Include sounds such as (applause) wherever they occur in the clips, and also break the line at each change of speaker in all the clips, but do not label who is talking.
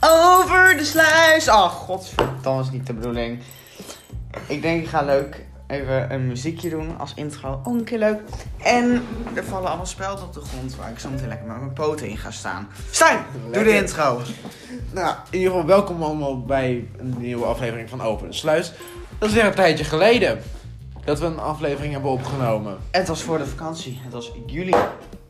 Over de sluis. Oh, godverdomme, dat was niet de bedoeling. Ik denk, ik ga leuk even een muziekje doen als intro. Oh, een keer leuk. En er vallen allemaal spelden op de grond waar ik zo meteen lekker met mijn poten in ga staan. Stijn, doe de
Lekker.
intro.
Nou, in ieder geval welkom allemaal bij een nieuwe aflevering van Open de Sluis. Dat is weer een tijdje geleden dat we een aflevering hebben opgenomen.
Het was voor de vakantie. Het was juli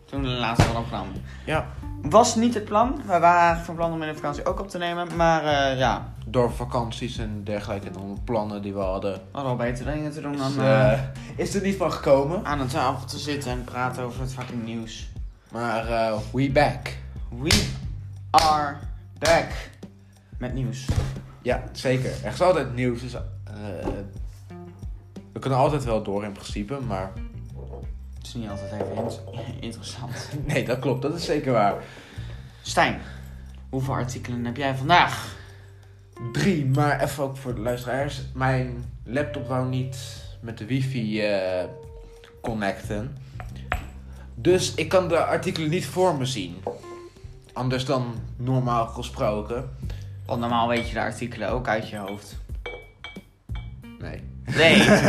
toen we de laatste van opnamen.
Ja,
Was niet het plan. We waren eigenlijk van plan om in de vakantie ook op te nemen. Maar eh, ja,
door vakanties en dergelijke en dan plannen die we hadden.
we hadden al betere dingen te doen dan
Is,
eh,
eh, is er niet van gekomen,
aan een tafel te zitten en praten over het fucking nieuws.
maar eh, we back.
We are back. Met nieuws.
Ja, zeker. Er is altijd nieuws. Dus, eh, we kunnen altijd wel door in principe, maar (laughs)
Het is niet altijd even in- interessant.
nee, dat klopt. Dat is zeker waar.
Stijn, hoeveel artikelen heb jij vandaag?
Drie, maar even ook voor de luisteraars. Mijn laptop wou niet met de wifi eh, connecten. Dus ik kan de artikelen niet voor me zien. Anders dan normaal gesproken.
Want normaal weet je de artikelen ook uit je hoofd.
Nee. (laughs)
Nee.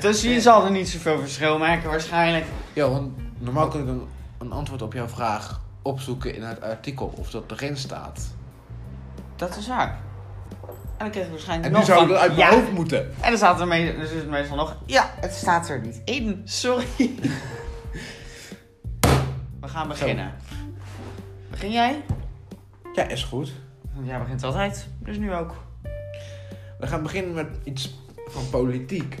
Tussen je zal er niet zoveel verschil maken waarschijnlijk.
Ja, want normaal kan ik een, een antwoord op jouw vraag opzoeken in het artikel of dat erin staat.
Dat is waar. En dan kreeg ik waarschijnlijk
En
nog
nu zou ik
van,
dat uit
ja.
mijn hoofd moeten.
En dan staat er, me- dus is meestal nog... Ja, het staat er niet in. Sorry. (laughs) We gaan beginnen. Begin jij?
Ja, is goed.
Want jij begint altijd. Dus nu ook.
We gaan beginnen met iets van politiek.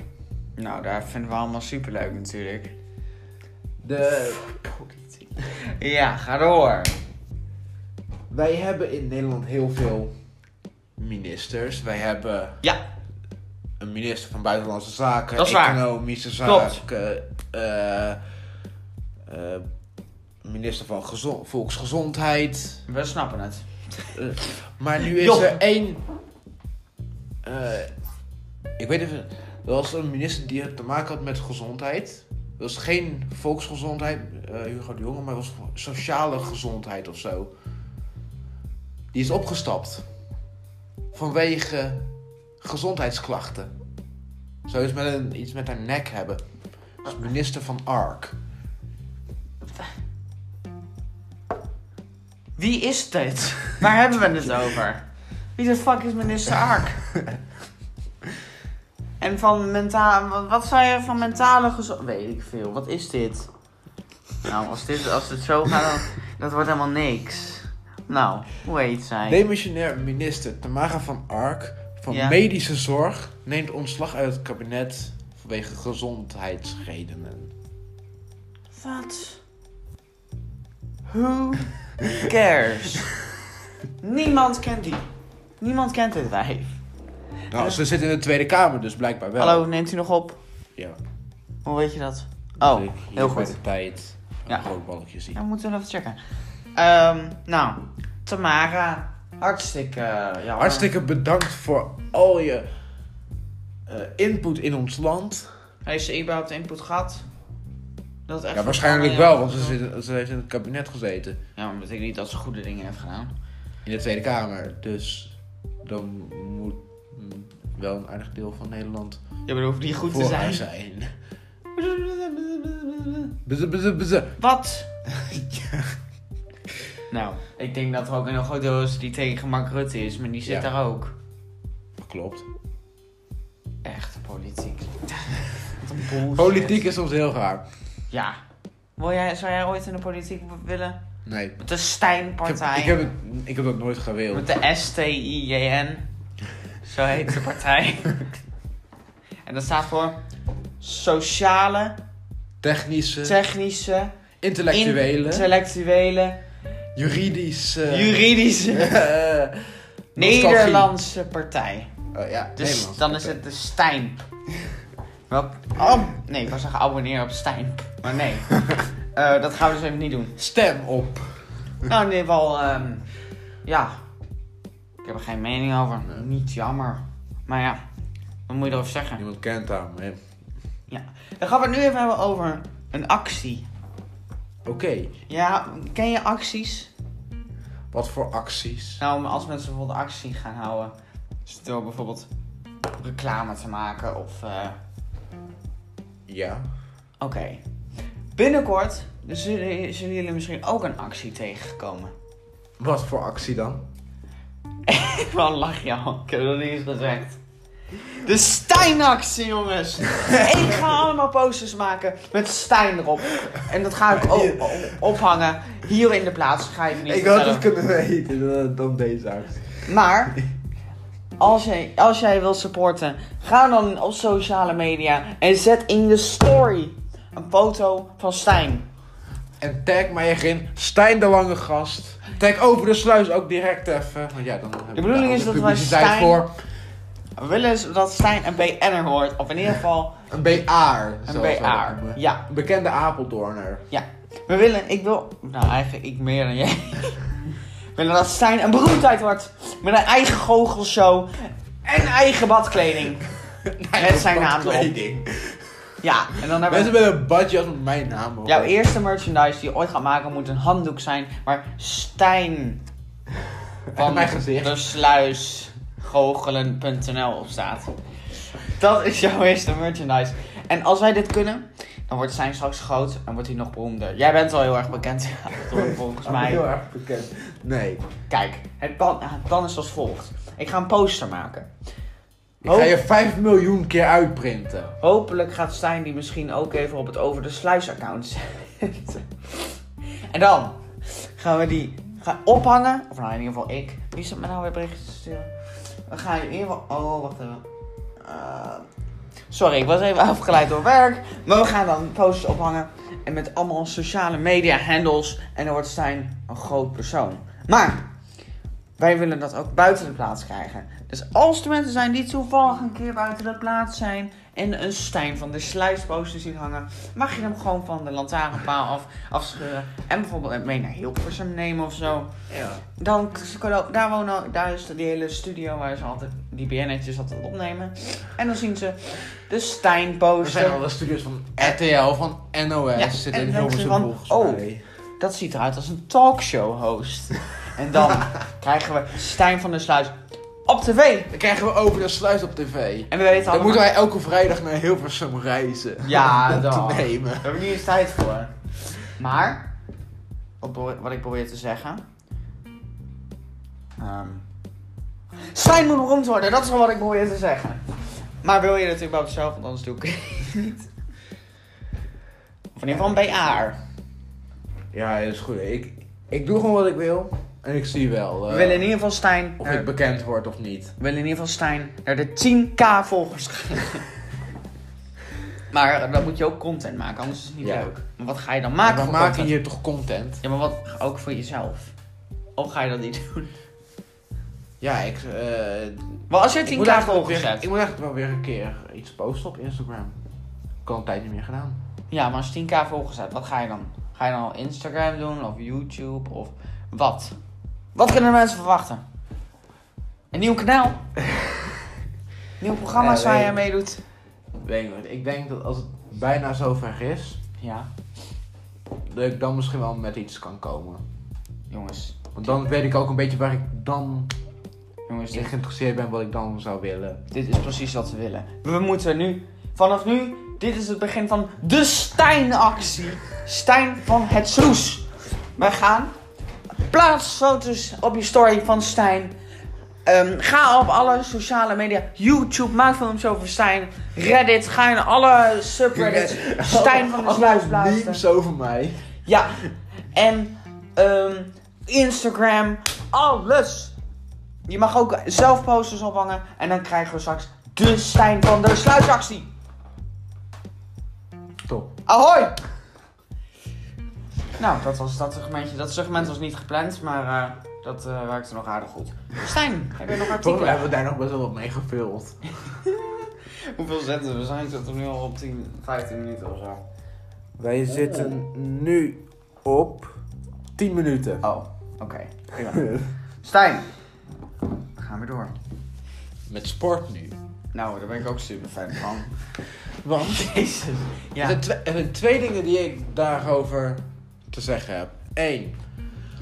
Nou, daar vinden we allemaal superleuk natuurlijk.
De,
Ja, ga door.
wij hebben in Nederland heel veel ministers. Wij hebben
Ja,
een minister van Buitenlandse Zaken,
Dat is waar.
Economische
Klopt.
Zaken, eh, eh, minister van Gezo- Volksgezondheid.
we snappen het.
Maar nu is
Joh.
er één. eh, ik weet even. Er was een minister die te maken had met gezondheid. Dat was geen volksgezondheid, eh, Hugo de Jonge, maar het was sociale gezondheid of zo. Die is opgestapt. Vanwege gezondheidsklachten. Zo is met een, iets met haar nek hebben. Dat is minister van Ark.
Wie is dit? Waar hebben we het over? Wie de fuck is minister Ark? En van mentale... Wat zei je van mentale gezondheid? Weet ik veel. Wat is dit? Nou, als, dit, als het zo gaat, dan, dat wordt helemaal niks. Nou, hoe heet zij?
Demissionair minister Tamara van Ark van
Ja.
Medische Zorg neemt ontslag uit het kabinet vanwege gezondheidsredenen.
Wat? Who cares? Niemand kent die. Niemand kent dit wijf.
Nou, ze zit in de Tweede Kamer, dus blijkbaar wel.
Hallo, neemt u nog op?
Ja.
Hoe weet je dat? Oh,
Dus ik hier
heel
bij
goed.
de tijd een
Ja.
rood balletje zien.
Ja, we moeten even checken. Ehm, nou, Tamara. Hartstikke eh, jammer.
Hartstikke bedankt voor al je eh, input in ons land.
Heeft ze überhaupt input gehad? Dat is echt
Ja, waarschijnlijk
jammer,
wel,
ja.
want ze, zit, ze heeft in het kabinet gezeten.
Ja, maar dat betekent niet dat ze goede dingen heeft gedaan.
In de Tweede Kamer. Dus dan moet mm, wel een aardig deel van Nederland
Ja, maar hoeft niet goed te
voor haar
zijn.
zijn. Bzz, bzz, bzz. (laughs)
Wat? (laughs) Nou, ik denk dat er ook een groot deel is die tegen Mark Rutte is, maar die zit
Ja.
daar ook.
Klopt.
Echt
(laughs)
politiek. Wat een bullshit.
Politiek is soms heel raar.
Ja. Wil jij, zou jij ooit in de politiek willen?
Nee. Ik
Met de
heb,
Stijnpartij.
ik, heb het, ik heb dat nooit gewild.
Met de STIJN. Zo heet de
(laughs)
partij. en dat staat voor sociale,
Technische,
technische,
intellectuele,
intellectuele,
juridische...
juridische,
eh, nostalgie.
Nederlandse partij.
(laughs) Oh, ja,
Dus
Nederlands.
dan is het de Stijn. Welk? Oh, nee, ik was zeggen abonneer op Stijn. Maar
(laughs)
nee, Eh, dat gaan we dus even niet doen.
Stem op.
Nou, in ieder geval, ehm, ja. Ik heb er geen mening over. Niet jammer. Maar ja, wat moet je erover zeggen?
Niemand kent haar, maar...
Dan gaan we het nu even hebben over een actie.
Oké.
Ja, ken je acties?
Wat voor acties?
Nou, maar als mensen bijvoorbeeld actie gaan houden, dus door bijvoorbeeld reclame te maken of... eh,
Ja.
Oké. Binnenkort zullen, zullen jullie misschien ook een actie tegenkomen.
Wat voor actie dan?
Waarom lach je al? Ik heb nog niet eens gezegd. De Stijnactie,
(laughs)
jongens! ik ga allemaal posters maken met Stijn erop. En dat ga ik ook ophangen hier in de plaats. Ga je het niet
ik had het
vertellen.
kunnen (laughs) weten eh, dan deze actie.
Maar als jij, als jij wil supporten, ga dan op sociale media en zet in je story een foto van Stijn.
En tag mij erin, Stijn de Lange Gast. Tag over de sluis ook direct even. Want ja, dan heb ik
bedoeling
daar
is
alle
dat wij
publiciteit
Stijn-
voor.
We willen eens dat Stijn een BN'er wordt, of in ieder geval
Een BA'er.
een
zoals wij dat
BA'er.
noemen.
Ja,
Een bekende Apeldoorner.
ja. We willen, ik wil, nou eigenlijk ik meer dan jij. We willen dat Stijn een beroemdheid wordt. Met een eigen goochelshow en eigen badkleding. Met zijn naam erop.
Kleding.
Ja, en dan hebben we...
Mensen met een badjas met mijn naam op.
Jouw eerste merchandise die je ooit gaat maken moet een handdoek zijn waar Stijn
Van mijn gezicht.
de sluisgoochelen.nl op staat. Dat is jouw eerste merchandise. En als wij dit kunnen, dan wordt Stijn straks groot en wordt hij nog beroemder. Jij bent al heel erg bekend, (laughs) Door, volgens
Ik ben Ah, Heel
mij.
erg bekend. Nee.
Kijk, het plan, het plan is als volgt. Ik ga een poster maken.
Ik
Hoop-
ga je 5 miljoen keer uitprinten.
Hopelijk gaat Stijn die misschien ook even op het Over de Sluis account zetten. En dan gaan we die gaan ophangen. Of nou, in ieder geval ik. Wie zit me nou weer berichtjes te sturen? We gaan in ieder geval... Oh, wacht even. Eh, sorry, ik was even afgeleid door werk. Maar we gaan dan posters ophangen. En met allemaal sociale media handles. En dan wordt Stijn een groot persoon. Maar... Wij willen dat ook buiten de plaats krijgen. Dus als er mensen zijn die toevallig een keer buiten de plaats zijn en een Stijn van de Sluisposter zien hangen, mag je hem gewoon van de lantaarnpaal af, afscheuren en bijvoorbeeld mee naar Hilversum nemen of zo.
Ja.
Dan, daar, wonen, daar is die hele studio waar ze altijd die BN'tjes altijd opnemen. En dan zien ze de
Er zijn
Stijn-poster.
alle studios van RTL, van NOS.
Ja,
zitten
en
in
dan
Hilversum
van-
volgens
oh.
mij.
Dat ziet eruit als een talkshow-host. En dan krijgen we Stijn van de Sluis op tv.
Dan krijgen we over de sluis op tv.
En we weten
Dan
allemaal...
moeten wij elke vrijdag naar Hilversum reizen. (laughs)
Ja,
om
dan.
te nemen.
We hebben niet eens tijd voor. Maar, wat, probeer- wat ik probeer te zeggen. Ehm Stijn moet beroemd worden, dat is wel wat ik probeer te zeggen. Maar wil je natuurlijk überhaupt zelf, want anders doe ik het niet. Of in ieder geval een BA'er.
Ja, dat is goed. Ik, ik doe gewoon wat ik wil. En ik zie wel
We
eh,
willen in ieder geval Stijn.
of
naar-
ik bekend word of niet.
we willen in ieder geval Stijn naar de 10k volgers krijgen. (laughs) maar eh, dan moet je ook content maken, anders is het niet
Ja.
leuk. Maar wat ga je dan
Maar
maken?
we
voor
maken
content?
hier toch content?
Ja, maar wat ook voor jezelf. Of ga je dat niet doen?
Ja, ik, eh,
Maar als je
ik,
10k
moet eigenlijk wel
volgers
weer,
hebt.
ik moet eigenlijk wel weer een keer iets posten op Instagram. Ik al een tijd niet meer gedaan.
Ja, maar als je 10k volgers hebt, wat ga je dan? Ga je dan al Instagram doen of YouTube of wat? Wat kunnen mensen verwachten? Een nieuw
(laughs)
kanaal? Nieuwe programma's
Eh,
waar
nee.
je aan meedoet?
Weet ik, niet. ik denk dat als het bijna zover is,
Ja,
dat ik dan misschien wel met iets kan komen.
jongens.
Want dan weet ik ook een beetje waar ik dan
Jongens,
in
dit,
geïnteresseerd ben, wat ik dan zou willen.
dit is precies wat we willen. We moeten nu, vanaf nu, dit is het begin van de Stijn-actie. Stijn van het Sloes. Wij gaan Plaats foto's op je story van Stijn. Ehm, ga op alle sociale media. YouTube, maak films over Stijn. Reddit, ga in alle
(laughs)
subreddits. Stijn van de
nou
Sluis plaatsen.
Oh, Memes over mij.
Ja. En ehm, Instagram, alles. Je mag ook zelf posters ophangen. En dan krijgen we straks de Stijn van de Sluisactie.
Top.
Ahoy! Nou, dat was dat segmentje. Dat segment was niet gepland, maar eh, dat eh, werkte nog aardig goed. Stijn, heb je (laughs) nog
Volgens mij
artikelen?
hebben we daar nog best wel wat mee gevuld.
Hoeveel zetten we? Zijn zitten nu al op 10, 15 minuten of zo?
Wij zitten nu op 10 minuten.
Oh, oké. Prima. Stijn, we gaan weer door.
(laughs) Met sport nu.
Nou, daar ben ik ook super fan van.
Want
(laughs) Jezus.
er,
Ja.
zijn twee, er zijn twee dingen die ik daarover te zeggen heb. Eén,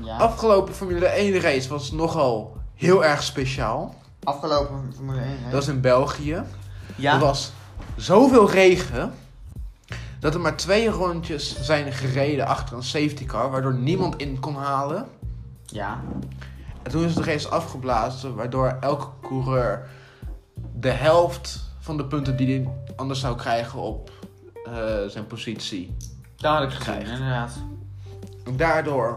Ja.
Afgelopen Formule 1 race was nogal heel erg speciaal.
Afgelopen Formule 1 race.
Dat was in België.
ja.
Er was zoveel regen dat er maar twee rondjes zijn gereden achter een safety car, waardoor niemand in kon halen.
ja.
En toen is de race afgeblazen, waardoor elke coureur de helft van de punten die hij anders zou krijgen op eh, zijn positie.
Dat had ik gezien,
Krijgt.
inderdaad.
En daardoor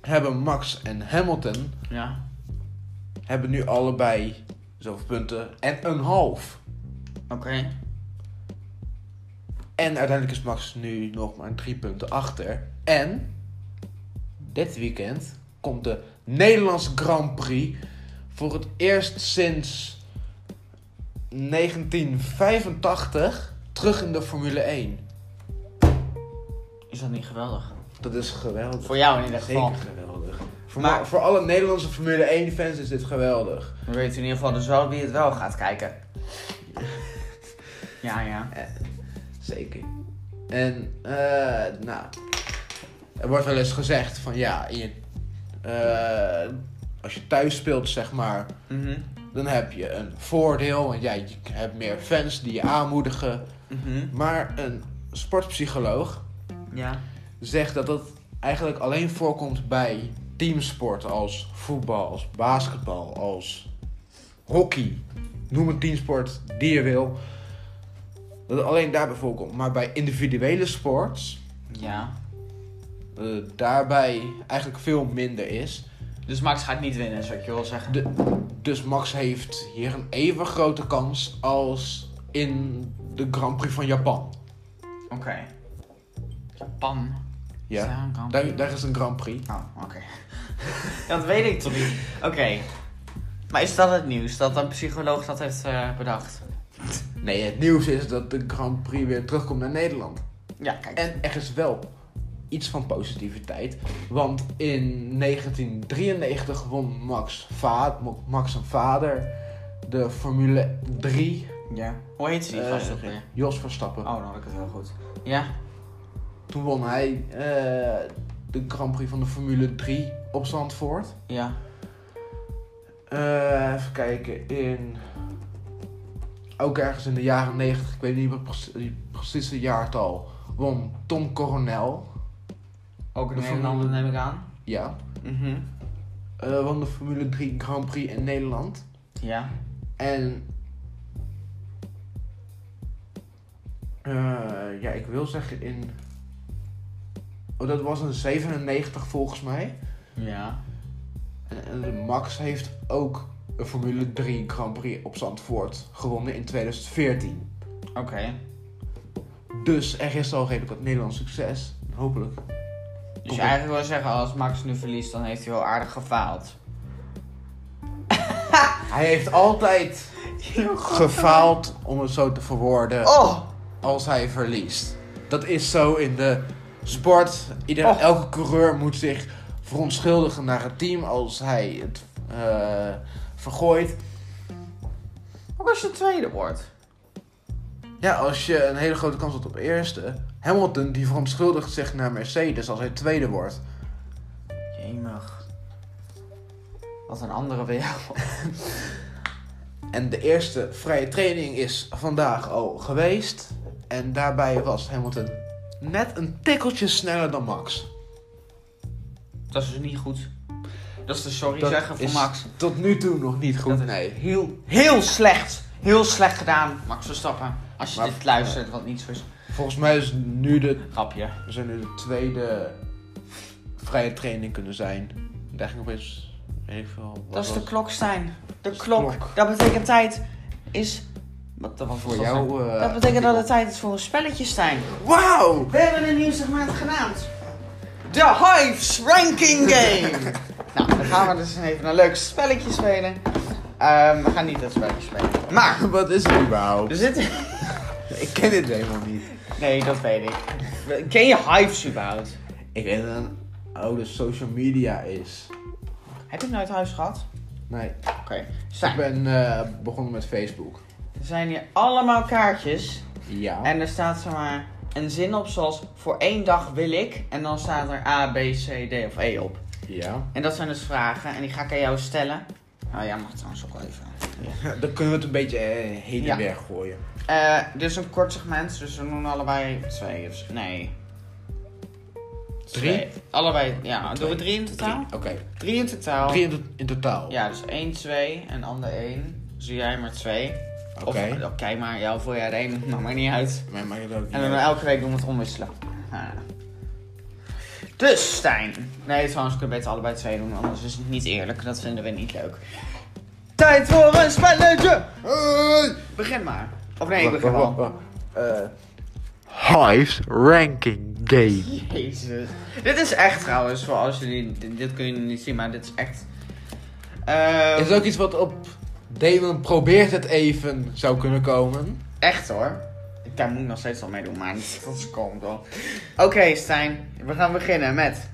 hebben Max en Hamilton
Ja.
hebben nu allebei zoveel punten en een half.
Oké.
En uiteindelijk is Max nu nog maar drie punten achter. En dit weekend komt de Nederlandse Grand Prix voor het eerst sinds 1985 terug in de Formule 1.
Is dat niet geweldig?
Dat is geweldig.
Voor jou in ieder geval.
Zeker geweldig. Voor,
Maar-
ma- voor alle Nederlandse Formule 1 fans is dit geweldig.
Dan weet je in ieder geval dus wel wie het wel gaat kijken. Ja, ja.
Zeker. En, eh, nou. Er wordt wel eens gezegd van ja, in je, eh, als je thuis speelt, zeg maar,
Mhm.
dan heb je een voordeel. Want ja, je hebt meer fans die je aanmoedigen.
Mhm.
Maar een sportpsycholoog
Ja.
zegt dat dat eigenlijk alleen voorkomt bij teamsporten als voetbal, als basketbal, als hockey. Noem een teamsport die je wil. Dat het alleen daarbij voorkomt. Maar bij individuele sports,
Ja.
eh, daarbij eigenlijk veel minder is.
Dus Max gaat niet winnen, zou ik je wel zeggen.
De, dus Max heeft hier een even grote kans als in de Grand Prix van Japan.
Oké. Japan. Is
Ja,
daar een kamp?
daar, daar is een Grand Prix.
Oh, oké. (laughs) Ja, dat weet ik toch niet. Oké. Maar is dat het nieuws? Dat een psycholoog dat heeft eh, bedacht?
Nee, het nieuws is dat de Grand Prix weer terugkomt naar Nederland.
Ja, kijk.
En er is wel iets van positiviteit. Want in 1993 won Max, va Max zijn vader de Formule 3.
Ja. Hoe heet ze die
eh,
gast ook weer?
Jos Verstappen.
Oh, dan had ik het wel goed. Ja.
Toen won hij eh, de Grand Prix van de Formule 3 op Zandvoort.
Ja.
Eh, even kijken, in... Ook ergens in de jaren 90, ik weet niet meer precie- het precieze jaartal, won Tom Coronel.
Ook een
De
Nederlander neem ik aan.
Ja.
Mhm.
eh, won de Formule 3 Grand Prix in Nederland.
Ja.
En. eh, ja, ik wil zeggen in. Oh, dat was een 97 volgens mij.
Ja.
En, en Max heeft ook een Formule 3 Grand Prix op Zandvoort gewonnen in 2014.
Oké.
Dus er is al redelijk wat Nederlands succes. Hopelijk.
Dus
Kom
je
op.
eigenlijk wil zeggen, als Max nu verliest, dan heeft hij wel aardig gefaald.
Hij heeft altijd gefaald, om het zo te verwoorden.
Oh!
als hij verliest. Dat is zo in de sport. Ieder,
Och.
Elke coureur moet zich verontschuldigen naar het team als hij het eh, vergooit.
Ook als je tweede wordt.
Ja, als je een hele grote kans had op eerste. Hamilton die verontschuldigt zich naar Mercedes als hij tweede wordt.
Jemig. Wat een andere wereld.
En de eerste vrije training is vandaag al geweest. En daarbij was Hamilton net een tikkeltje sneller dan Max.
(laughs) Dat is dus niet goed. Dat is de sorry
Dat
zeggen voor
is
Max.
Tot nu toe nog niet goed,
Dat is
nee.
Heel, heel slecht. Heel slecht gedaan, Max Verstappen. Als je
Maar-
dit luistert, wat niet zo is.
Volgens mij is nu de
Grapje.
We zijn nu de tweede vrije training kunnen zijn. Daar ging opeens heel veel. wat
Dat is de
was-
klok, Stijn. De
is de
klok.
klok.
Dat betekent tijd is... Wat, dat was
voor
dat nou?
jou. eh,
Dat betekent dat het tijd is voor een spelletje, Stijn.
Wauw! (laughs)
We hebben een nieuw segment genaamd. De Hives Ranking (laughs) Game. nou, dan gaan we dus even een leuk spelletje spelen. Ehm, we gaan niet dat spelletje spelen. Maar,
Wat is het
er
überhaupt?
zitten...
Ik ken dit helemaal niet.
(laughs) Nee, dat weet ik. Ken je Hives überhaupt?
Ik weet dat het een oude social media is.
Heb je het nooit huis gehad?
Nee,
Oké.
ik
Stijn, er
ben eh, begonnen met Facebook.
zijn hier allemaal kaartjes.
Ja.
En er staat zomaar een zin op zoals voor één dag wil ik. En dan staat er A, B, C, D of E op.
Ja. (laughs)
En dat zijn dus vragen en die ga ik aan jou stellen. Nou, jij mag trouwens ook wel even.
Dan kunnen we het een beetje eh, heen en
Ja.
weer gooien.
Eh, dit is een kort segment, dus we doen allebei twee. Of, nee.
Drie?
Twee. Allebei, ja. Doen we drie in totaal?
Drie, Oké.
Drie in totaal.
Drie in, to- in totaal.
Ja, dus één, twee en ander één. Dus doe jij maar twee.
Oké.
Of, oké, maar ja, voor jij er één, (laughs) maakt mij niet uit.
Mij maakt het ook niet
En dan
uit.
elke week doen we het omwisselen. Ah. Dus, Stijn. Nee, trouwens, kunnen we beter allebei twee doen, anders is het niet eerlijk. Dat vinden we niet leuk. Tijd voor een spelletje! Hey! Begin maar. Of nee, ik begin al.
Eh, Hives Ranking Game.
Jezus. Dit is echt trouwens, voor als jullie... Dit, dit kun je niet zien, maar dit is echt... Ehm,
Is het ook iets wat op Damon probeert het even zou kunnen komen?
Echt hoor. Ik- Daar moet ik nog steeds wel mee doen, maar dat is komt (laughs) wel. Oké, Stijn. We gaan beginnen met...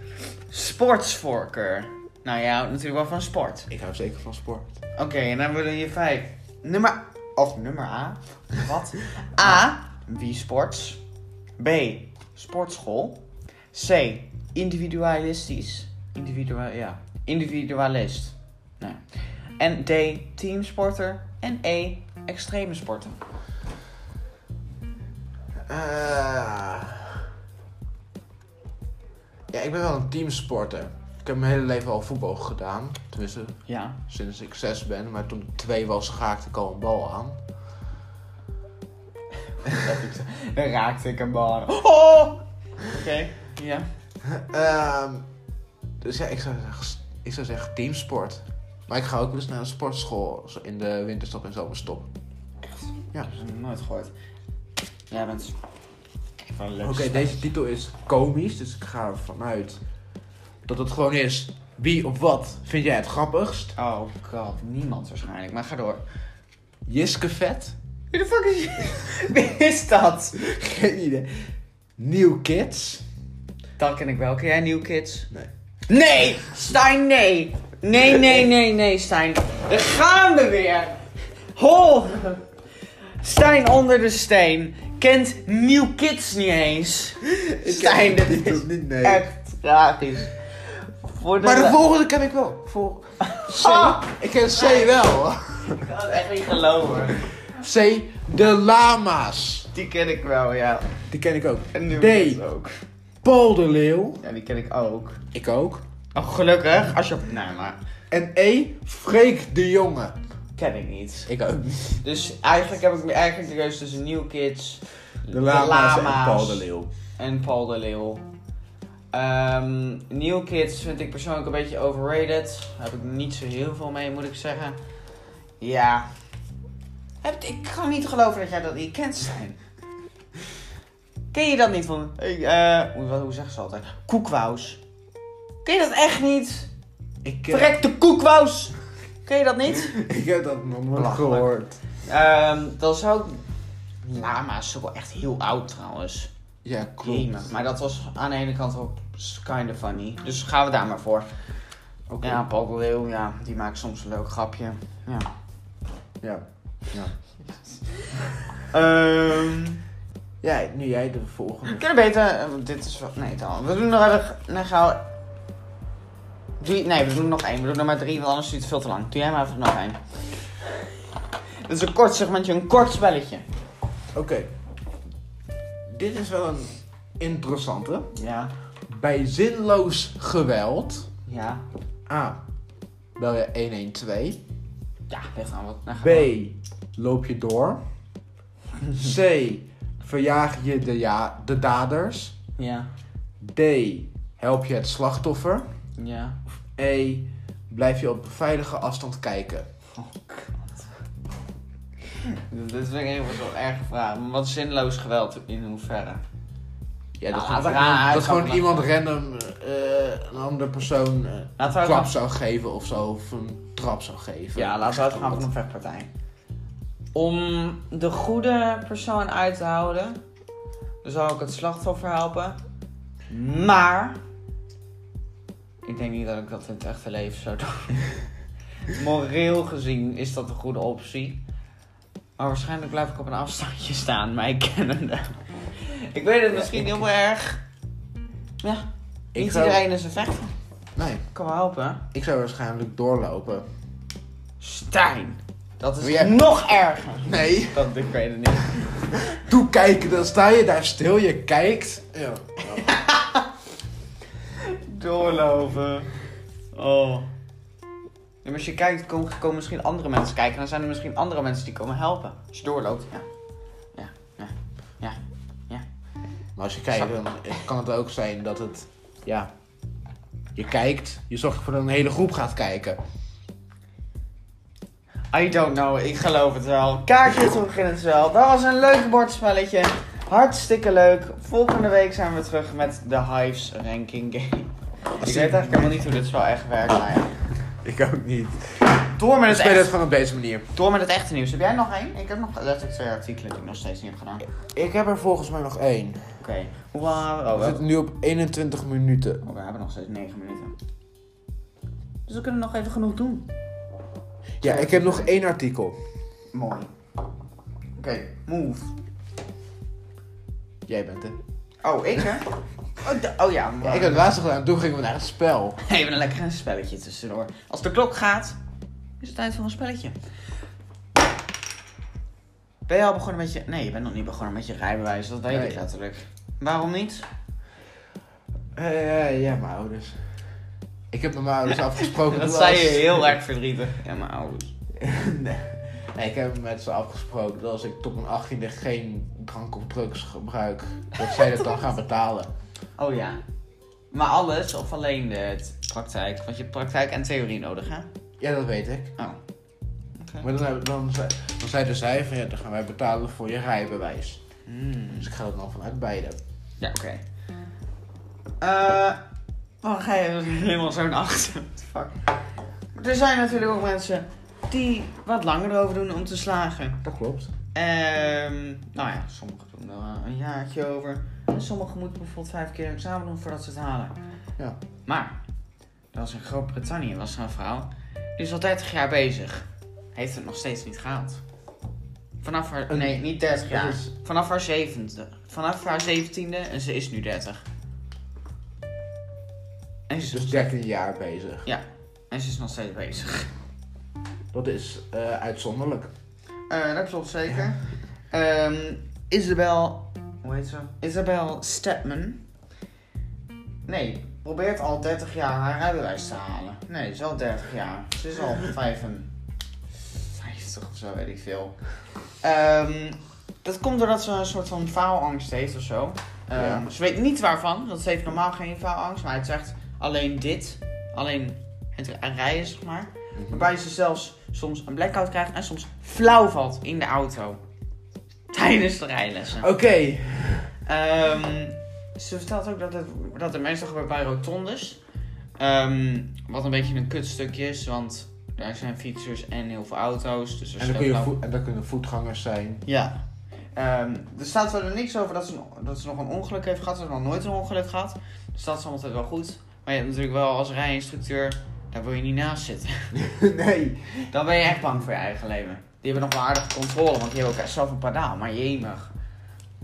Sportsvoorkeur. Nou, jij houdt natuurlijk wel van sport.
Ik hou zeker van sport.
Oké, en dan willen je vijf. Nummer... Of nummer A. Wat? Ah. A. Wie sports. B. Sportschool. C. Individualistisch. Individua ja. Individualist. Nou. En D. Teamsporter. En E. Extreme sporten.
Eh. Ja, ik ben wel een teamsporter. Ik heb mijn hele leven al voetbal gedaan. Tenminste,
Ja.
sinds ik zes ben. Maar toen ik twee was, raakte ik al een bal aan.
Dan raakte ik een bal aan. Oh! Oké. Ja.
Ehm, dus ja, ik zou, zeggen, ik zou zeggen teamsport. Maar ik ga ook wel eens naar een sportschool zo in de winterstop en zomerstop.
Dat heb ik nooit gehoord. Jij bent... Van leuk.
Oké, deze titel is komisch, dus ik ga ervan uit dat het gewoon is wie of wat vind jij het grappigst?
Oh god, niemand waarschijnlijk. Maar ga door.
Jiske Vet?
Wie de fuck is... (laughs) Wie is dat?
(laughs) Geen idee. New Kids?
Dat ken ik wel. Ken jij New Kids?
Nee.
Nee! Stijn, nee! Nee, nee, nee, nee, Stijn. Daar gaan we weer! Hol! Stijn onder de steen kent New Kids niet eens. Stijn, dit is
niet,
echt tragisch. Voor de
Maar de volgende ken ik wel. Voor C.
Ah.
Ik ken C wel.
Ik kan het echt niet geloven.
C. De Lama's.
Die ken ik wel, ja.
Die ken ik ook.
En New
D.
Kids ook.
Paul de Leeuw.
Ja, die ken ik ook.
Ik ook.
Oh, gelukkig. Als je... Nee, maar...
En E. Freek de Jonge.
Ken ik niet.
Ik ook niet.
Dus eigenlijk heb ik eigenlijk de keuze tussen New Kids,
De Lama's, en
Lama's
Paul de Leeuw.
en Paul de Leeuw. Ehm, New Kids vind ik persoonlijk een beetje overrated. Daar heb ik niet zo heel veel mee, moet ik zeggen. Ja. Heb- Ik kan niet geloven dat jij dat niet kent, zijn. Ken je dat niet van... Ik, eh, hoe, wat- hoe zeggen ze altijd? Koekwous. Ken je dat echt niet?
Ik, eh,
Verrekte koekwous! Ken je dat niet?
(laughs) ik heb dat nog nooit
Belachelijk.
gehoord.
Ehm, dan zou ik... Lama's is ook wel echt heel oud trouwens.
Ja, klopt.
Jemig. Maar dat was aan de ene kant wel kind of funny. Dus gaan we daar maar voor.
Oké.
Ja, Paul de Leeuw, ja, die maakt soms een leuk grapje. Ja.
Ja.
Ehm
Ja, nu jij de volgende.
we kunnen beter... eh, want dit is wel... Nee, dan. We doen nog even... Nee, gauw... Doe... Nee, we doen nog één. We doen er maar drie, want anders duurt het veel te lang. Doe jij maar even nog één. Dit is een kort segmentje, een kort spelletje.
Oké. Dit is wel een interessante.
Ja.
Bij zinloos geweld.
Ja.
A. Bel je 112.
Ja, ligt aan wat... nou, ga
B. Loop je door. C. Verjaag je de, ja de daders.
maar. Ja.
D. Help je het slachtoffer.
Ja.
E. Blijf je op veilige afstand kijken.
Oh god. Dit vind ik even zo'n erge vraag. Maar wat zinloos geweld in hoeverre?
Ja, dat,
Nou, laten
gewoon-
we gaan
dat gewoon
uitgaan.
iemand random eh, een andere persoon eh,
Laten we
een klap
uitgaan,
zou geven of zo. Of een trap zou geven.
ja, laten we uitgaan van een vechtpartij. Om de goede persoon uit te houden, dan zou ik het slachtoffer helpen. Maar. Ik denk niet dat ik dat in het echte leven zou doen. (laughs) Moreel gezien is dat een goede (laughs) optie. Maar waarschijnlijk blijf ik op een afstandje staan, mij kennende. Ik weet het
Ja,
misschien
ik-
heel erg. Ja,
Ik
niet
zou-
iedereen is een vechter.
Nee,
Kan wel helpen.
ik zou waarschijnlijk doorlopen.
Stijn. Dat is
Wil jij-
nog erger.
Nee.
Dat, ik weet het niet.
Doe kijken, dan sta je daar stil, je kijkt. Ja. ja.
Doorlopen. Oh. Ja, maar als je kijkt, komen, komen misschien andere mensen kijken. En dan zijn er misschien andere mensen die komen helpen. Als je doorloopt, ja. Ja, ja, ja.
Maar als je kijkt, dan kan het ook zijn dat het... Ja. Je kijkt, je zorgt voor dat een hele groep gaat kijken.
I don't know, ik geloof het wel. Kaartjes we beginnen het wel. Dat was een leuk bordspelletje. Hartstikke leuk. Volgende week zijn we terug met de Hives Ranking Game. Ik weet eigenlijk helemaal niet hoe dit zo echt werkt. Maar ja.
Ik ook niet.
Door met
We
het
spelen het
echte,
van op deze manier.
door met het echte nieuws. Heb jij nog één? Ik heb nog letterlijk twee eh, artikelen die ik nog steeds niet heb gedaan. Oké.
Ik heb er volgens mij nog één.
Wow. Oh,
We
we, hebben-
zitten nu op 21 minuten.
oh, we hebben nog steeds 9 minuten. Dus we kunnen nog even genoeg doen.
Ja, ik heb nog één artikel.
Mooi. Oké, move.
Jij bent het.
Oh, ik hè? (laughs) Oh, d- oh ja,
Ja,
maar...
ik heb het laatste gedaan, toen gingen we naar het spel.
Even een lekker spelletje tussendoor. Als de klok gaat, is het tijd voor een spelletje. Ben je al begonnen met je... Nee, je bent nog niet begonnen met je rijbewijs. Dat weet
Nee.
ik letterlijk. Waarom niet?
Eh, ja, mijn ouders. Ik heb met mijn ouders (laughs) afgesproken.
Dat
toen
zei
als-
je heel erg verdrietig. Ja, mijn ouders.
nee. Nee, ik heb met ze afgesproken dat als ik tot mijn 18e geen drank of drugs gebruik, dat zij dat dan gaan betalen.
Oh ja. Maar alles of alleen de t- praktijk? Want je hebt praktijk en theorie nodig, hè?
Ja, dat weet ik.
Oh. Oké.
Maar dan, hebben- dan, zei- dan zeiden zij van ja, dan gaan wij betalen voor je rijbewijs.
Hmm.
Dus ik ga er dan vanuit beide.
Ja, oké. Eh, waarom ga je er helemaal (laughs) zo naar achter? What the Fuck. Maar Er zijn natuurlijk ook mensen die wat langer erover doen om te slagen.
Dat klopt.
Ehm, nou ja, sommigen doen er eh, een jaartje over. En sommigen moeten bijvoorbeeld vijf keer een examen doen voordat ze het halen.
Ja.
Maar, er was in Groot-Brittannië was er een vrouw. Die is al 30 jaar bezig. Heeft het nog steeds niet gehaald. Vanaf haar...
Een-
nee, niet 30 jaar.
Dat is-
Vanaf haar zevende. Vanaf haar zeventiende en ze is nu 30. En ze,
Dus 13 jaar bezig.
en ze is nog steeds bezig.
Dat is eh, uitzonderlijk.
Eh, dat klopt zeker. Ehm, Isabel. Hoe heet ze? Isabel Stepman. Nee, probeert al 30 jaar haar rijbewijs te halen. Nee, ze is al 30 jaar. Ze is al (laughs) 55 of zo, weet ik veel. Ehm, dat komt doordat ze een soort van faalangst heeft of zo. Ehm,
Ja.
Ze weet niet waarvan, want ze heeft normaal geen faalangst. Maar het zegt alleen dit. Alleen het rijden, zeg maar.
Mhm.
Waarbij ze zelfs soms een blackout krijgt en soms flauw valt in de auto. (laughs) Tijdens de rijlessen.
Oké.
Ehm, ze vertelt ook dat het, dat het meestal gebeurt bij rotondes. Ehm, wat een beetje een kutstukje is, want daar zijn fietsers en heel veel auto's. Dus als
En, dan
daar
kun je
flauw-
voet- en dan kunnen voetgangers zijn.
ja. Ehm, er staat verder niks over dat ze, dat ze nog een ongeluk heeft gehad. Ze heeft nog nooit een ongeluk gehad. Dus dat is altijd wel goed. Maar je hebt natuurlijk wel als rijinstructeur, daar wil je niet naast zitten.
(laughs) nee.
Dan ben je echt bang voor je eigen leven. Die hebben nog wel aardige controle, want die hebben ook zelf een pedaal. Maar jemig.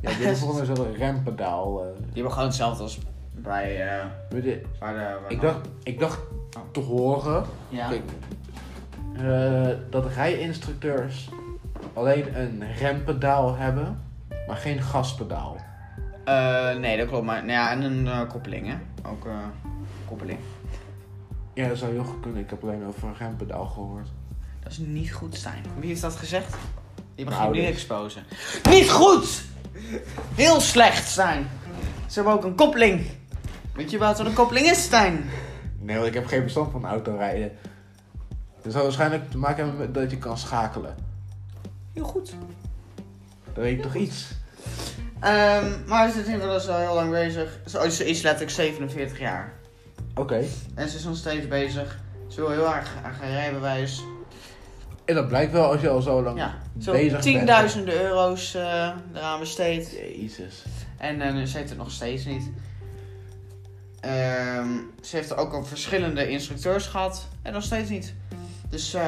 Ja, dit is (laughs) volgens mij zo'n rempedaal. eh.
Die hebben gewoon hetzelfde als bij... eh,
Weet je,
waar de, waar
ik,
de-
dacht, ik dacht te horen
Ja.
Kijk, eh, dat rijinstructeurs alleen een rempedaal hebben, maar geen gaspedaal.
Eh, nee, dat klopt. Maar, nou ja, en een eh, koppeling, hè. Ook eh, koppeling.
Ja, dat zou heel goed kunnen. Ik heb alleen over een rempedaal gehoord.
Dat is niet goed, Stijn. Wie heeft dat gezegd? Die mag je
Nou,
nu
dit-
exposen. Niet goed! Heel slecht, Stijn. Ze hebben ook een koppeling. Weet je wat een koppeling is, Stijn?
Nee, want ik heb geen verstand van autorijden. Dat zou waarschijnlijk te maken hebben met dat je kan schakelen.
Heel goed.
Dat weet ik toch iets?
Ehm, maar ze is inmiddels al heel lang bezig. Ze oh, ze is letterlijk 47 jaar.
Oké.
En ze is nog steeds bezig. Ze wil heel erg haar haar rijbewijs.
En dat blijkt wel als je al zo lang
Ja, ze wil
bezig bent.
tienduizenden euro's eh eraan besteed.
Jezus.
En eh, ze heeft het nog steeds niet. Ehm, ze heeft ook al verschillende instructeurs gehad. En nog steeds niet. Dus eh,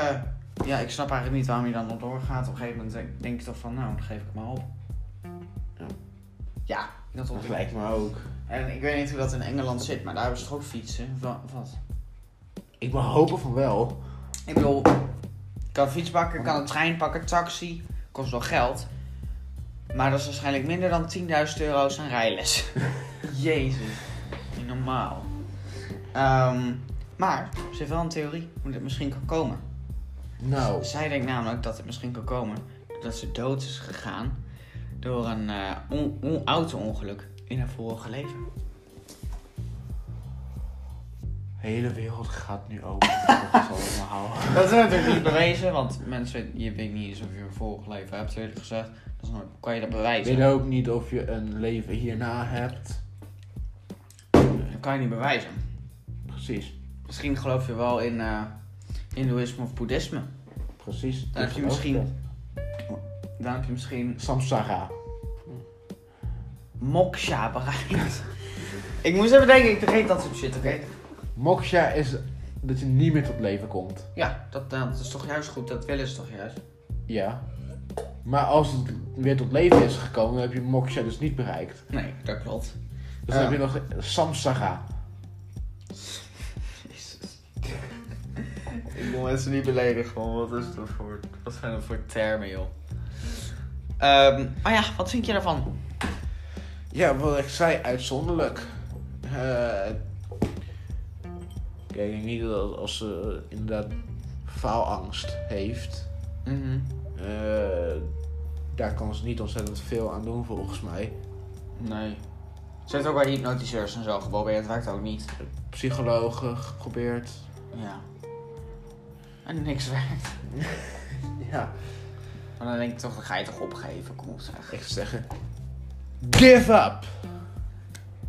ja, ik snap eigenlijk niet waarom je dan nog doorgaat. Op een gegeven moment denk, denk je toch van, nou, dan geef ik het maar op. Nou, Ja. Dat
Dat
hoorde ik.
lijkt me ook.
En ik weet niet hoe dat in Engeland zit, maar daar hebben ze toch ook fietsen? Of wa- of wat?
Ik mag hopen van wel.
Ik bedoel, ik kan een fiets pakken, ik kan een trein pakken, taxi. Kost wel geld. Maar dat is waarschijnlijk minder dan 10.000 euro's aan rijles. Jezus. Niet normaal. Ehm, maar ze heeft wel een theorie hoe dit misschien kan komen.
Nou.
Zij denkt namelijk dat het misschien kan komen dat ze dood is gegaan door een eh, on- on- auto-ongeluk in haar vorige leven.
De hele wereld gaat nu open. (laughs) Dat is allemaal.
Dat is natuurlijk niet bewezen, want mensen, je weet niet eens of je een vorige leven hebt, eerlijk gezegd. Dat is nooit, kan je dat
Ik
bewijzen?
weet ook niet of je een leven hierna hebt.
Dat kan je niet bewijzen.
Precies.
Misschien geloof je wel in eh Hindoeïsme of Boeddhisme.
Precies.
Dan heb je
Dat
misschien-
ook, eh,
Dan heb je misschien
Samsara.
moksha bereikt. (laughs) ik moest even denken, ik vergeet dat soort shit, oké?
Moksha is dat je niet meer tot leven komt.
Ja, dat, eh, dat is toch juist goed, dat willen ze toch juist?
Ja. Maar als het weer tot leven is gekomen, dan heb je Moksha dus niet bereikt.
Nee, dat klopt.
Dus dan
Ja.
heb je nog Samsara.
Jezus. Ik wil mensen niet beledigen, gewoon. Wat is dat voor, wat zijn dat voor termen, joh? Ehm, oh ja, wat vind je daarvan?
Ja, wat ik zei, uitzonderlijk. Eh, Kijk, ik denk niet dat als ze inderdaad faalangst heeft,
Mhm.
eh, daar kan ze niet ontzettend veel aan doen volgens mij.
Nee. Ze heeft ook wel hypnotiseurs en zo geprobeerd, het werkt ook niet.
Psychologen geprobeerd.
Ja. En niks werkt.
Ja.
Maar dan denk ik toch, dan ga je toch opgeven, kom op zeg.
Ik zou zeggen, give up!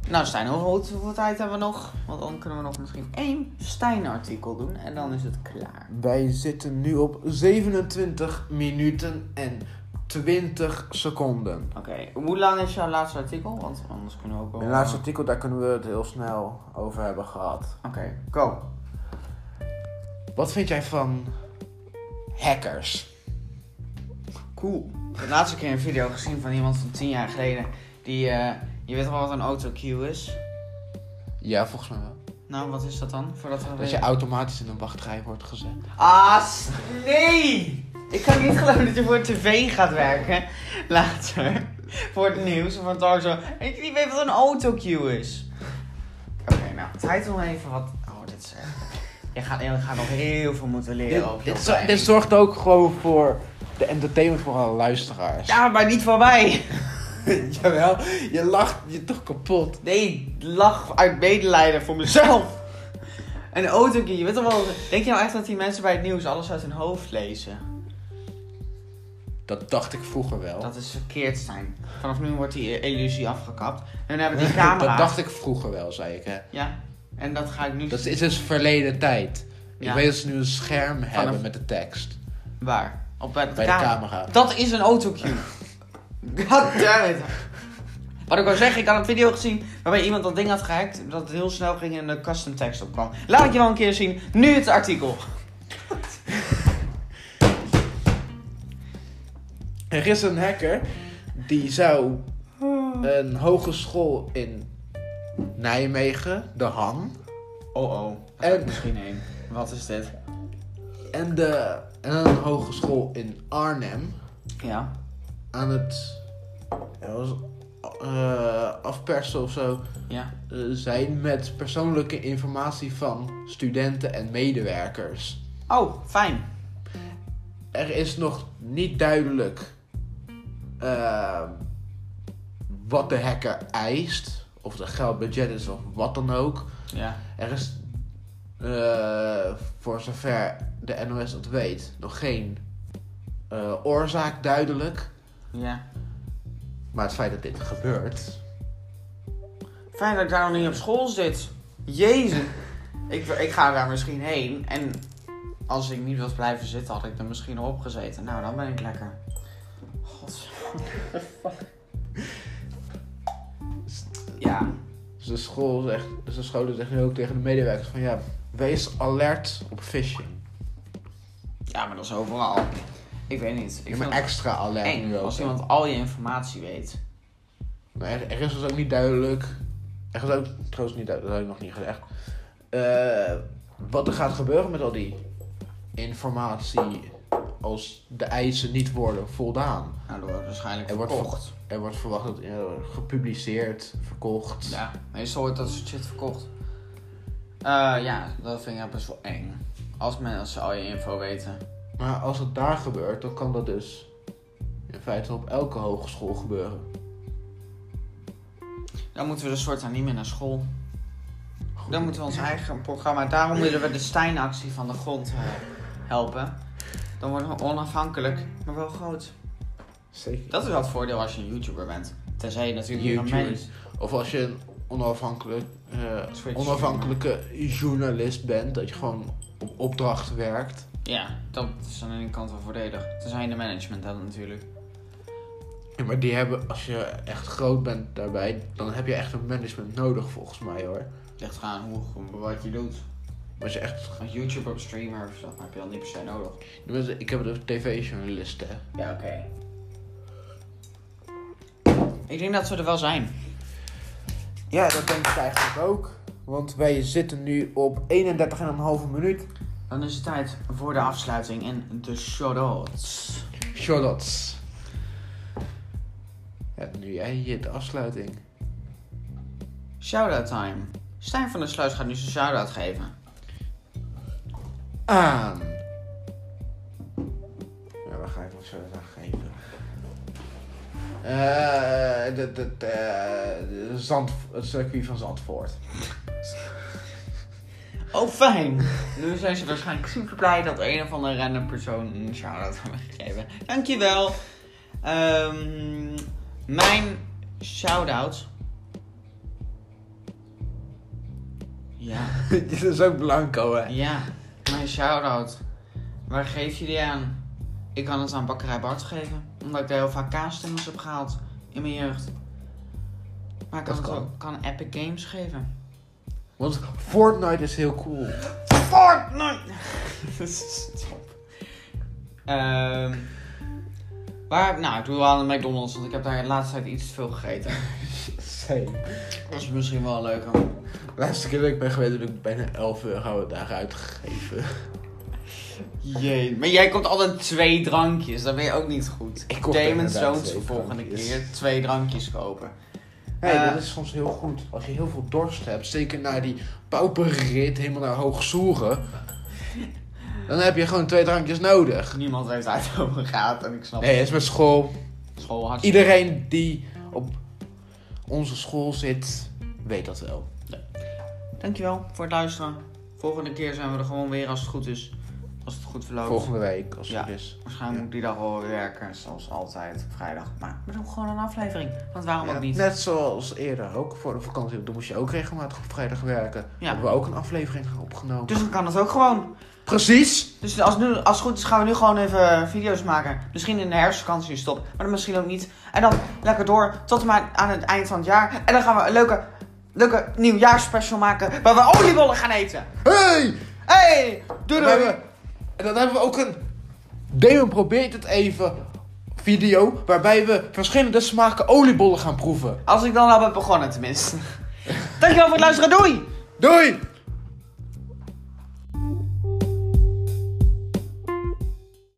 Nou Stijn, hoeveel, hoeveel tijd hebben we nog? Want dan kunnen we nog misschien één Stijn-artikel doen en dan is het klaar.
Wij zitten nu op 27 minuten en 20 seconden.
Oké, hoe lang is jouw laatste artikel? Want anders kunnen we ook wel...
Mijn laatste artikel, daar kunnen we het heel snel over hebben gehad.
Oké, go.
Wat vind jij van hackers?
Cool. Ik heb laatst een keer een video gezien van iemand van 10 jaar geleden. Die, eh, je weet wel wat een autocue is?
Ja, volgens mij wel.
Nou, wat is dat dan? Voordat we
Dat je automatisch in een wachtrij wordt gezet.
Ah, s- nee! Ik kan niet geloven dat je voor tv gaat werken. Later. Voor het nieuws of voor het al zo. En ik niet weet wat een autocue is. Oké, nou. Tijd om even wat... Oh, dit is echt... Je gaat, je gaat nog heel veel moeten leren op
dit,
zo.
zo- dit zorgt ook gewoon voor de entertainment voor alle luisteraars.
Ja, maar niet voor mij.
(laughs) Jawel, je lacht je toch kapot.
Nee, lach uit medelijden voor mezelf. Een autocue, je weet toch wel... Denk je nou echt dat die mensen bij het nieuws alles uit hun hoofd lezen?
Dat dacht ik vroeger wel.
Dat is verkeerd zijn. Vanaf nu wordt die eh, illusie afgekapt. En dan hebben we die camera.
(laughs) (laughs) dat dacht ik vroeger wel, zei ik. Hè.
Ja, en dat ga ik nu...
Dat is dus verleden tijd.
Ja.
Ik weet dat ze nu een scherm hebben
Vanaf-
met de tekst.
Waar? Op bij de,
Bij de
camera.
camera.
Dat is een autocue. (laughs) God damn it. Wat ik wil zeggen, ik had een video gezien waarbij iemand dat ding had gehackt. Dat het heel snel ging en de custom tekst opkwam. Laat ik je wel een keer zien. Nu het artikel.
Er is een hacker die zou een hogeschool in Nijmegen, de Han,
Oh oh.
Daar ga ik
misschien heen. Wat is dit?
en, de, en een hogeschool in Arnhem
Ja.
aan het ja, was, eh, afpersen of zo
Ja.
eh, zijn met persoonlijke informatie van studenten en medewerkers.
Oh, fijn.
Er is nog niet duidelijk eh, wat de hacker eist, of er geldbudget is of wat dan ook.
Ja.
Er is, eh, voor zover de NOS dat weet, nog geen eh, oorzaak duidelijk.
Ja.
Maar het feit dat dit gebeurt,
Fijn dat ik daar nog niet op school zit. Jezus. Ik, ik ga daar misschien heen. En als ik niet was blijven zitten, had ik er misschien op gezeten. Nou, dan ben ik lekker. God. Ja.
Dus de school zegt, dus de scholen zeggen nu ook tegen de medewerkers van ja, wees alert op phishing.
ja, maar dat is overal. Ik weet niet. Ik
Ik
vind
ben
het
extra alert
eng
nu ook.
als iemand al je informatie weet.
Maar er, ergens was ook niet duidelijk. Ergens ook trouwens niet duidelijk, dat heb ik nog niet gezegd. eh, wat er gaat gebeuren met al die informatie als de eisen niet worden voldaan.
Nou, dat wordt waarschijnlijk
Er wordt
verkocht.
Er wordt verwacht dat eh, gepubliceerd, verkocht.
Ja, meestal wordt dat soort shit verkocht. Eh, ja, dat vind ik best wel eng. Als mensen al je info weten.
Maar als het daar gebeurt, dan kan dat dus in feite op elke hogeschool gebeuren.
Dan moeten we dus soort aan niet meer naar school.
Goed.
Dan moeten we ons eigen programma. Daarom willen we de Steinactie van de grond eh, helpen. Dan worden we onafhankelijk, maar wel groot.
Zeker.
Dat is wel het voordeel als je een YouTuber bent. Tenzij je natuurlijk niet
YouTuber.
van mij is.
Of als je een onafhankelijk, eh,
Switch.
onafhankelijke journalist bent, dat je gewoon op opdracht werkt.
Ja, dat is aan de ene kant wel voordelig. Tenzij je de management hebt natuurlijk.
Ja, maar die hebben, als je echt groot bent daarbij, dan heb je echt een management nodig volgens mij hoor.
Het ligt eraan hoe, wat je doet.
Maar als je echt,
Als YouTuber of streamer of zo, heb je dat niet per se nodig.
Tenminste, ik heb dus het over tv-journalist hè.
Ja, oké. Ik denk dat ze er wel zijn.
Ja, dat denk ik eigenlijk ook. Want wij zitten nu op 31,5 minuut.
Dan is het tijd voor de afsluiting en de shoutouts.
Shoutouts. Ja, nu jij je de afsluiting.
Shoutout time. Stijn van der Sluis gaat nu zijn shoutout geven.
aan. Ja, waar ga ik nog zo aan geven? Eh, de, de, de, de Zand, het circuit van Zandvoort.
Oh, fijn! Nu zijn ze waarschijnlijk super blij dat een of andere random persoon een shoutout heeft gegeven. Dankjewel! Ehm mijn shoutout. Ja.
(laughs) Dit is ook blanco, hè?
Ja, mijn shout-out. Waar geef je die aan? Ik kan het aan Bakkerij Bart geven. Omdat ik daar heel vaak kaasstengels heb gehaald in mijn jeugd. Maar ik kan,
Dat
het
kan.
ook kan Epic Games geven.
Want Fortnite is heel cool.
(laughs) Fortnite! Stop. Ehm waar, nou, ik doe wel aan de McDonald's, want ik heb daar de laatste tijd iets te veel gegeten.
Same.
Dat is misschien wel leuker.
Laatste keer dat ik ben geweest heb ik bijna 11 euro daar uitgegeven.
Jee, maar jij komt altijd twee drankjes, dan ben je ook niet goed.
Ik koop
Damon
inderdaad
Zoons
twee
de volgende
drankjes.
keer twee drankjes kopen.
Hé,
Eh.
dat is soms heel goed. Als je heel veel dorst hebt, zeker na die pauperrit helemaal naar hoogzoeren. dan heb je gewoon twee drankjes nodig.
Niemand weet waar het (laughs) over gaat en ik snap
Nee, het is met school.
school hartstikke.
Iedereen die op onze school zit, weet dat wel.
Dankjewel voor het luisteren. Volgende keer zijn we er gewoon weer als het goed is. Als het goed verloopt.
Volgende week, als het
Ja.
goed is.
Waarschijnlijk moet ik die dag wel weer werken, zoals altijd op vrijdag. Maar we doen gewoon een aflevering, want waarom ook niet?
Net zoals eerder ook voor de vakantie. Toen moest je ook regelmatig op vrijdag werken.
Ja.
Hebben we ook een aflevering opgenomen.
Dus dan kan het ook gewoon.
Precies!
Dus als, nu, als het goed is gaan we nu gewoon even eh, video's maken. Misschien in de herfstvakantie stop, maar dan misschien ook niet. En dan lekker door tot en maar aan het eind van het jaar. En dan gaan we een leuke, leuke nieuwjaarsspecial maken waar we oliebollen gaan eten.
Hey!
Hey, doei doei!
En dan hebben we- en dan hebben we ook een Damon probeert het even video. Waarbij we verschillende smaken oliebollen gaan proeven.
nou Als ik dan al ben begonnen, tenminste. Dankjewel voor het luisteren. Doei!
Doei!